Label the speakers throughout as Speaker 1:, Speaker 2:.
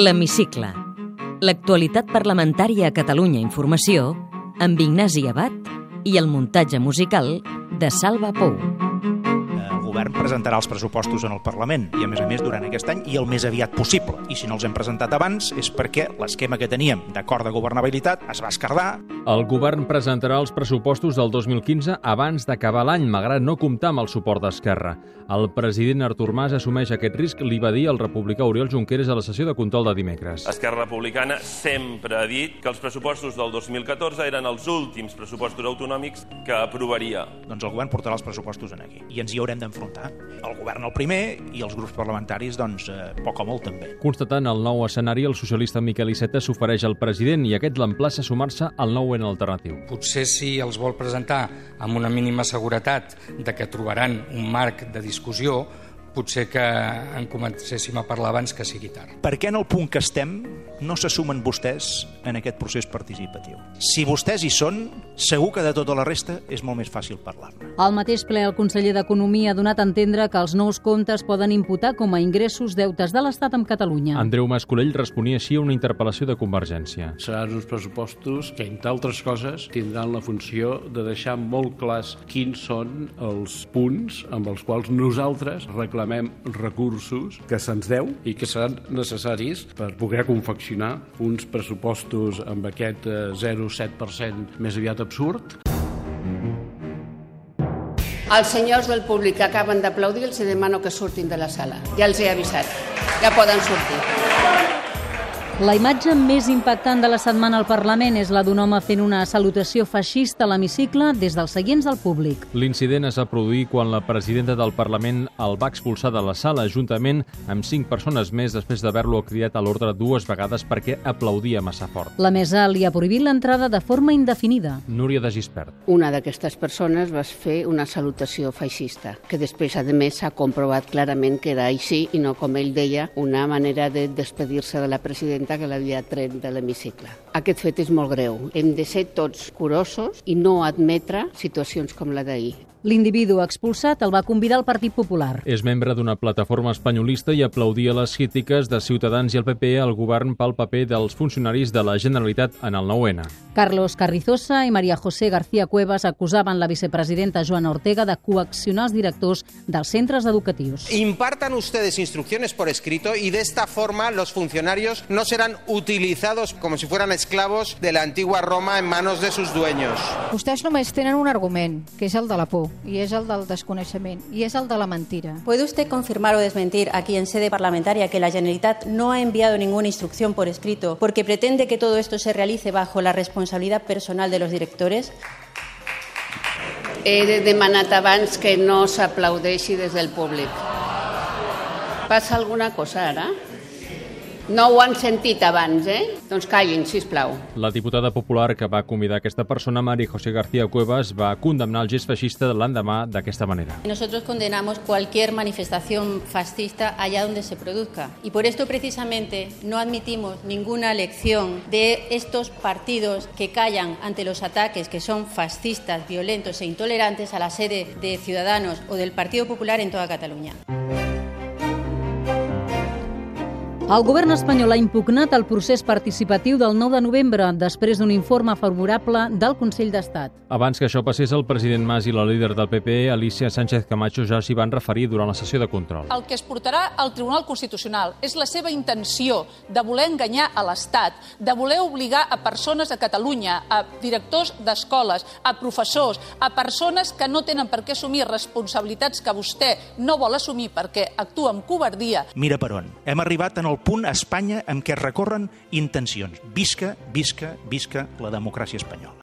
Speaker 1: L'hemicicle. L'actualitat parlamentària a Catalunya Informació amb Ignasi Abad i el muntatge musical de Salva Pou.
Speaker 2: El Eh, govern presentarà els pressupostos en el Parlament i, a més a més, durant aquest any i el més aviat possible. I si no els hem presentat abans és perquè l'esquema que teníem d'acord de governabilitat es va escardar.
Speaker 3: El govern presentarà els pressupostos del 2015 abans d'acabar l'any, malgrat no comptar amb el suport d'Esquerra. El president Artur Mas assumeix aquest risc, li va dir el republicà Oriol Junqueras a la sessió de control de dimecres.
Speaker 4: Esquerra Republicana sempre ha dit que els pressupostos del 2014 eren els últims pressupostos autonòmics que aprovaria.
Speaker 2: Doncs el govern portarà els pressupostos en aquí i ens hi haurem d'enfrontar. El govern el primer i els grups parlamentaris, doncs, eh, poc o molt també.
Speaker 3: Constatant el nou escenari, el socialista Miquel Iceta s'ofereix al president i aquest l'emplaça a sumar-se al nou en alternatiu.
Speaker 5: Potser si els vol presentar amb una mínima seguretat de que trobaran un marc de discussió, potser que en comencéssim a parlar abans que sigui tard.
Speaker 2: Per què en el punt que estem no se sumen vostès en aquest procés participatiu? Si vostès hi són, segur que de tota la resta és molt més fàcil parlar-ne.
Speaker 6: Al mateix ple, el conseller d'Economia ha donat a entendre que els nous comptes poden imputar com a ingressos deutes de l'Estat amb Catalunya.
Speaker 3: Andreu Mascolell responia així a una interpel·lació de Convergència.
Speaker 7: seran uns pressupostos que, entre altres coses, tindran la funció de deixar molt clars quins són els punts amb els quals nosaltres reclamem recursos
Speaker 8: que se'ns deu.
Speaker 7: i que seran necessaris per poder confeccionar uns pressupostos amb aquest eh, 0,7% més aviat absurd.
Speaker 9: Els senyors del públic que acaben d'aplaudir els demano que surtin de la sala. Ja els he avisat. Ja poden sortir.
Speaker 6: La imatge més impactant de la setmana al Parlament és la d'un home fent una salutació feixista a l'hemicicle des dels seients del públic.
Speaker 3: L'incident es va produir quan la presidenta del Parlament el va expulsar de la sala juntament amb cinc persones més després d'haver-lo cridat a l'ordre dues vegades perquè aplaudia massa fort.
Speaker 6: La mesa li ha prohibit l'entrada de forma indefinida.
Speaker 3: Núria de Gispert.
Speaker 9: Una d'aquestes persones va fer una salutació feixista, que després, a més, s'ha comprovat clarament que era així i no, com ell deia, una manera de despedir-se de la presidenta que l'havia tret de l'hemicicle. Aquest fet és molt greu. Hem de ser tots curosos i no admetre situacions com la d'ahir.
Speaker 6: L'individu expulsat el va convidar al Partit Popular.
Speaker 3: És membre d'una plataforma espanyolista i aplaudia les crítiques de Ciutadans i el PP al govern pel paper dels funcionaris de la Generalitat en el 9-N.
Speaker 6: Carlos Carrizosa i María José García Cuevas acusaven la vicepresidenta Joana Ortega de coaccionar els directors dels centres educatius.
Speaker 10: Impartan ustedes instrucciones por escrito y de esta forma los funcionarios no serán utilizados como si fueran esclavos de la antigua Roma en manos de sus dueños.
Speaker 11: Vostès només tenen un argument, que és el de la por, i és el del desconeixement, i és el de la mentira.
Speaker 9: ¿Puede usted confirmar o desmentir aquí en sede parlamentaria que la Generalitat no ha enviado ninguna instrucción por escrito porque pretende que todo esto se realice bajo la responsabilidad personal de los directores? He demanat abans que no s'aplaudeixi des del públic. Passa alguna cosa ara? No ho han sentit abans, eh? Doncs callin, si plau.
Speaker 3: La diputada popular que va convidar aquesta persona, María José García Cuevas, va condemnar el gest feixista l'endemà d'aquesta manera.
Speaker 9: Nosotros condenamos cualquier manifestación fascista allá donde se produzca. Y por esto precisamente no admitimos ninguna lección de estos partidos que callan ante los ataques que son fascistas, violentos e intolerantes a la sede de Ciudadanos o del Partido Popular en toda Cataluña.
Speaker 6: El govern espanyol ha impugnat el procés participatiu del 9 de novembre després d'un informe favorable del Consell d'Estat.
Speaker 3: Abans que això passés, el president Mas i la líder del PP, Alicia Sánchez Camacho, ja s'hi van referir durant la sessió de control.
Speaker 11: El que es portarà al Tribunal Constitucional és la seva intenció de voler enganyar a l'Estat, de voler obligar a persones a Catalunya, a directors d'escoles, a professors, a persones que no tenen per què assumir responsabilitats que vostè no vol assumir perquè actua amb covardia.
Speaker 2: Mira per on. Hem arribat en el punt a Espanya en què recorren intencions. Visca, visca, visca la democràcia espanyola.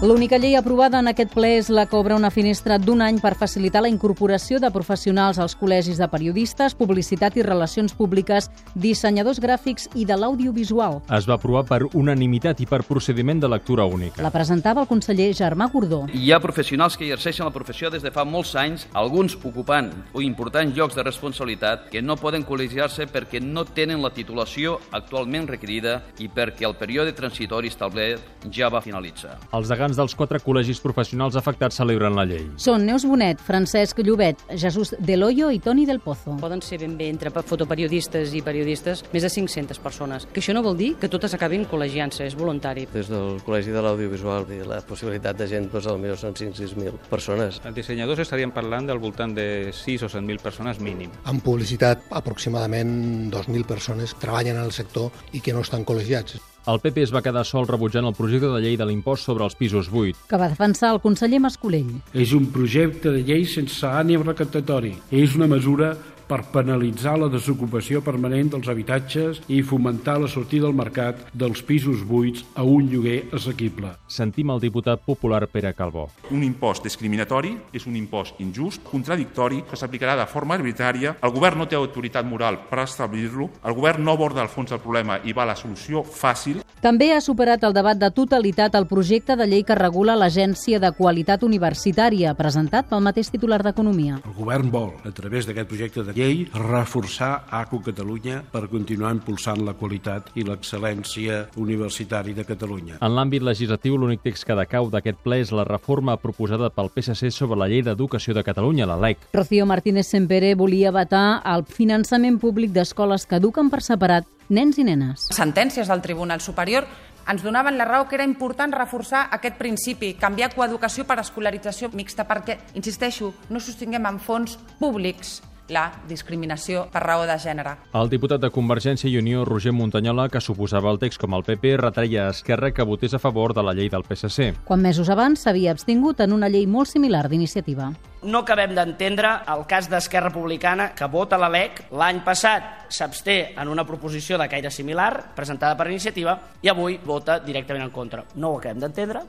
Speaker 6: L'única llei aprovada en aquest ple és la que obre una finestra d'un any per facilitar la incorporació de professionals als col·legis de periodistes, publicitat i relacions públiques, dissenyadors gràfics i de l'audiovisual.
Speaker 3: Es va aprovar per unanimitat i per procediment de lectura única.
Speaker 6: La presentava el conseller Germà Gordó.
Speaker 10: Hi ha professionals que exerceixen la professió des de fa molts anys, alguns ocupant o importants llocs de responsabilitat que no poden col·legiar-se perquè no tenen la titulació actualment requerida i perquè el període transitori establert ja va finalitzar.
Speaker 3: Els degans representants dels quatre col·legis professionals afectats celebren la llei.
Speaker 6: Són Neus Bonet, Francesc Llobet, Jesús Del Hoyo i Toni del Pozo.
Speaker 8: Poden ser ben bé entre fotoperiodistes i periodistes més de 500 persones, que això no vol dir que totes acabin col·legiant-se, és voluntari.
Speaker 12: Des del Col·legi de l'Audiovisual i la possibilitat de gent, doncs, potser són 5-6.000 persones.
Speaker 13: Els dissenyadors estaríem parlant del voltant de 6 o 7.000 persones mínim.
Speaker 14: En publicitat, aproximadament 2.000 persones treballen en el sector i que no estan col·legiats.
Speaker 3: El PP es va quedar sol rebutjant el projecte de llei de l'impost sobre els pisos buits.
Speaker 6: Que va defensar el conseller Mascolell.
Speaker 7: És un projecte de llei sense ànim recaptatori. És una mesura per penalitzar la desocupació permanent dels habitatges i fomentar la sortida al mercat dels pisos buits a un lloguer assequible.
Speaker 3: Sentim el diputat popular Pere Calbó.
Speaker 15: Un impost discriminatori és un impost injust, contradictori, que s'aplicarà de forma arbitrària. El govern no té autoritat moral per establir-lo, el govern no aborda el fons del problema i va a la solució fàcil.
Speaker 6: També ha superat el debat de totalitat el projecte de llei que regula l'Agència de Qualitat Universitària, presentat pel mateix titular d'Economia.
Speaker 7: El govern vol, a través d'aquest projecte de llei reforçar ACU Catalunya per continuar impulsant la qualitat i l'excel·lència universitària de Catalunya.
Speaker 3: En l'àmbit legislatiu, l'únic text que decau d'aquest ple és la reforma proposada pel PSC sobre la Llei d'Educació de Catalunya, la LEC.
Speaker 6: Rocío Martínez Sempere volia vetar el finançament públic d'escoles que eduquen per separat nens i nenes.
Speaker 16: Sentències del Tribunal Superior ens donaven la raó que era important reforçar aquest principi, canviar coeducació per escolarització mixta, perquè, insisteixo, no sostinguem amb fons públics la discriminació per raó de gènere.
Speaker 3: El diputat de Convergència i Unió, Roger Montanyola, que suposava el text com el PP, retreia a Esquerra que votés a favor de la llei del PSC.
Speaker 6: Quan mesos abans s'havia abstingut en una llei molt similar d'iniciativa.
Speaker 5: No acabem d'entendre el cas d'Esquerra Republicana que vota la LEC. L'any passat s'absté en una proposició de caire similar, presentada per iniciativa, i avui vota directament en contra. No ho acabem d'entendre.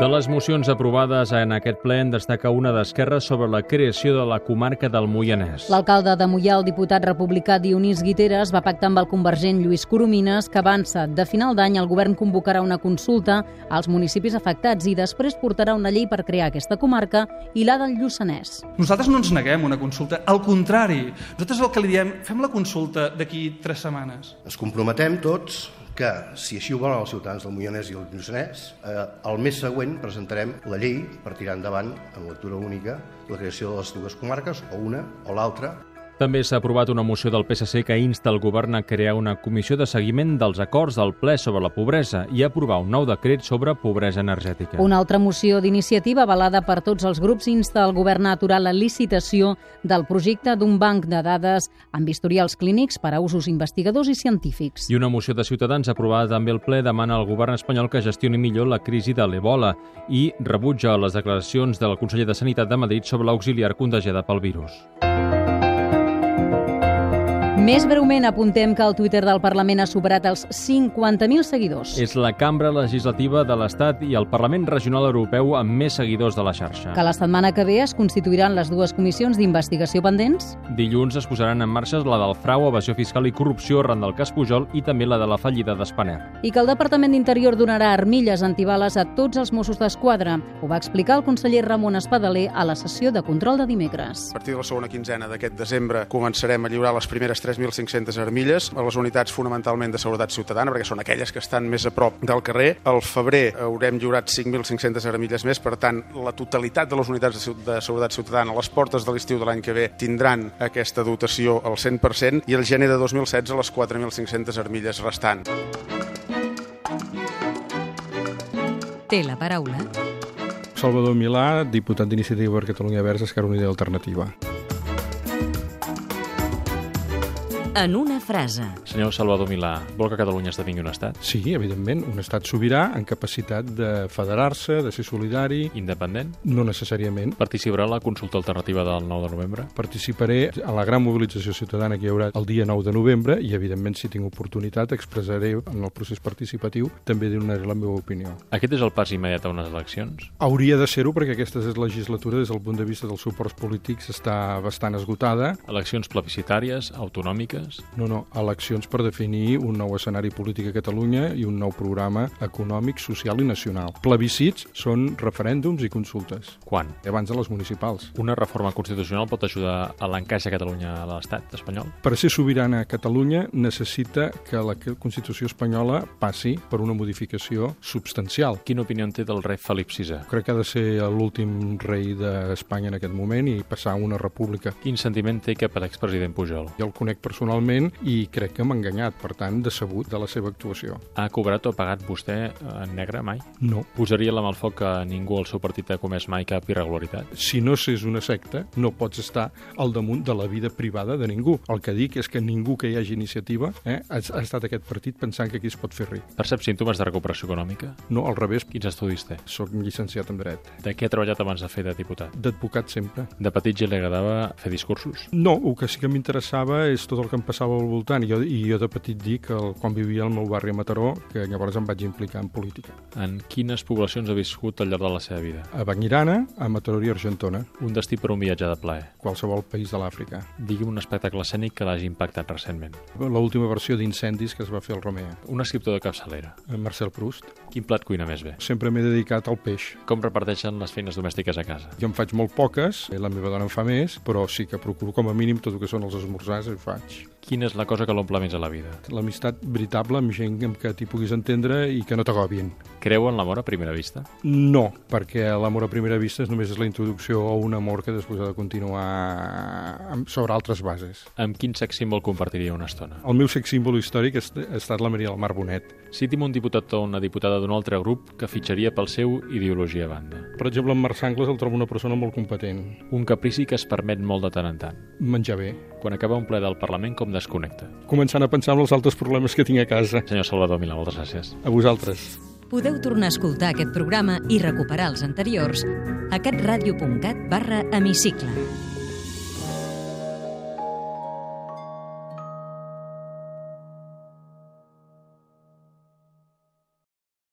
Speaker 3: De les mocions aprovades en aquest ple en destaca una d'Esquerra sobre la creació de la comarca del Moianès.
Speaker 6: L'alcalde de Moià, el diputat republicà Dionís Guiteres, va pactar amb el convergent Lluís Coromines que avança. De final d'any el govern convocarà una consulta als municipis afectats i després portarà una llei per crear aquesta comarca i la del Lluçanès.
Speaker 17: Nosaltres no ens neguem una consulta, al contrari. Nosaltres el que li diem, fem la consulta d'aquí tres setmanes.
Speaker 18: Ens comprometem tots que, si així ho volen els ciutadans del Moianès i el Lluçanès, eh, el mes següent presentarem la llei per tirar endavant, en lectura única, la creació de les dues comarques, o una o l'altra.
Speaker 3: També s'ha aprovat una moció del PSC que insta el govern a crear una comissió de seguiment dels acords del ple sobre la pobresa i aprovar un nou decret sobre pobresa energètica.
Speaker 6: Una altra moció d'iniciativa avalada per tots els grups insta el govern a aturar la licitació del projecte d'un banc de dades amb historials clínics per a usos investigadors i científics.
Speaker 3: I una moció de Ciutadans aprovada també al ple demana al govern espanyol que gestioni millor la crisi de l'Ebola i rebutja les declaracions del conseller de Sanitat de Madrid sobre l'auxiliar contagiada pel virus.
Speaker 6: Més breument apuntem que el Twitter del Parlament ha superat els 50.000 seguidors.
Speaker 3: És la cambra legislativa de l'Estat i el Parlament Regional Europeu amb més seguidors de la xarxa.
Speaker 6: Que la setmana que ve es constituiran les dues comissions d'investigació pendents.
Speaker 3: Dilluns es posaran en marxa la del frau, evasió fiscal i corrupció arran del cas Pujol i també la de la fallida d'Espaner.
Speaker 6: I que el Departament d'Interior donarà armilles antibales a tots els Mossos d'Esquadra. Ho va explicar el conseller Ramon Espadaler a la sessió de control de dimecres.
Speaker 19: A partir de la segona quinzena d'aquest desembre començarem a lliurar les primeres 3.500 armilles a les unitats fonamentalment de seguretat ciutadana, perquè són aquelles que estan més a prop del carrer. Al febrer haurem lliurat 5.500 armilles més, per tant, la totalitat de les unitats de seguretat ciutadana a les portes de l'estiu de l'any que ve tindran aquesta dotació al 100% i el gener de 2016 les 4.500 armilles restants.
Speaker 1: Té la paraula.
Speaker 9: Salvador Milà, diputat d'Iniciativa per Catalunya Verds, Esquerra Unida Alternativa.
Speaker 1: en una frase.
Speaker 3: Senyor Salvador Milà, vol que Catalunya esdevingui un estat?
Speaker 9: Sí, evidentment, un estat sobirà en capacitat de federar-se, de ser solidari...
Speaker 3: Independent?
Speaker 9: No necessàriament.
Speaker 3: Participarà a la consulta alternativa del 9 de novembre?
Speaker 9: Participaré a la gran mobilització ciutadana que hi haurà el dia 9 de novembre Eh, i, evidentment, si tinc oportunitat, expressaré en el procés participatiu, també donaré la meva opinió.
Speaker 3: Aquest és el pas immediat a unes eleccions?
Speaker 9: Hauria de ser-ho perquè aquesta legislatura, des del punt de vista dels suports polítics, està bastant esgotada.
Speaker 3: Eleccions plebiscitàries, autonòmiques,
Speaker 9: polítiques? No, no, eleccions per definir un nou escenari polític a Catalunya i un nou programa econòmic, social i nacional. Plebiscits són referèndums i consultes.
Speaker 3: Quan?
Speaker 9: Abans de les municipals.
Speaker 3: Una reforma constitucional pot ajudar a l'encaix de Catalunya a l'estat espanyol?
Speaker 9: Per ser sobirana a Catalunya necessita que la Constitució espanyola passi per una modificació substancial.
Speaker 3: Quina opinió en té del rei Felip VI?
Speaker 9: Crec que ha de ser l'últim rei d'Espanya en aquest moment i passar a una república.
Speaker 3: Quin sentiment té cap a l'expresident Pujol?
Speaker 9: Jo el conec personalment i crec que m'ha enganyat, per tant, decebut de la seva actuació.
Speaker 3: Ha cobrat o pagat vostè en negre mai?
Speaker 9: No.
Speaker 3: Posaria la mà al foc que ningú al seu partit ha comès mai cap irregularitat?
Speaker 9: Si no s'és una secta, no pots estar al damunt de la vida privada de ningú. El que dic és que ningú que hi hagi iniciativa eh, ha, ha estat aquest partit pensant que aquí es pot fer ric.
Speaker 3: Percep símptomes de recuperació econòmica?
Speaker 9: No, al revés.
Speaker 3: Quins estudis té?
Speaker 9: Soc llicenciat en dret.
Speaker 3: De què ha treballat abans de fer de diputat?
Speaker 9: D'advocat sempre.
Speaker 3: De petit ja li agradava fer discursos?
Speaker 9: No, el que sí que m'interessava és tot el que em passava al voltant. I jo, i jo de petit dic, el, quan vivia al meu barri a Mataró, que llavors em vaig implicar en política.
Speaker 3: En quines poblacions ha viscut al llarg de la seva vida?
Speaker 9: A Banyirana, a Mataró i Argentona.
Speaker 3: Un destí per un viatge de plaer?
Speaker 9: Qualsevol país de l'Àfrica.
Speaker 3: Digui un espectacle escènic que l'hagi impactat recentment.
Speaker 9: L'última versió d'Incendis que es va fer al Romea.
Speaker 3: Un escriptor de capçalera.
Speaker 9: En Eh, Marcel Proust.
Speaker 3: Quin plat cuina més bé?
Speaker 9: Sempre m'he dedicat al peix.
Speaker 3: Com reparteixen les feines domèstiques a casa?
Speaker 9: Jo en faig molt poques, eh, la meva dona en fa més, però sí que procuro com a mínim tot el que són els esmorzars i ho faig.
Speaker 3: Quina és la cosa que l'omple més a la vida?
Speaker 9: L'amistat veritable amb gent amb què t'hi puguis entendre i que no t'agobin.
Speaker 3: Creu en l'amor a primera vista?
Speaker 9: No, perquè l'amor a primera vista és només és la introducció a un amor que després ha de continuar amb, sobre altres bases.
Speaker 3: Amb quin sex símbol compartiria una estona?
Speaker 9: El meu sex símbol històric ha estat la Maria del Mar Bonet.
Speaker 3: Citi'm un diputat o una diputada d'un altre grup que fitxaria pel seu ideologia a banda.
Speaker 9: Per exemple, en Marc Sangles el trobo una persona molt competent.
Speaker 3: Un caprici que es permet molt de tant en tant.
Speaker 9: Menjar bé.
Speaker 3: Quan acaba un ple del Parlament, com desconnecta.
Speaker 9: Començant a pensar en els altres problemes que tinc a casa.
Speaker 3: Senyor Salvador Milà, moltes gràcies.
Speaker 9: A vosaltres.
Speaker 1: Podeu tornar a escoltar aquest programa i recuperar els anteriors a catradio.cat barra hemicicle.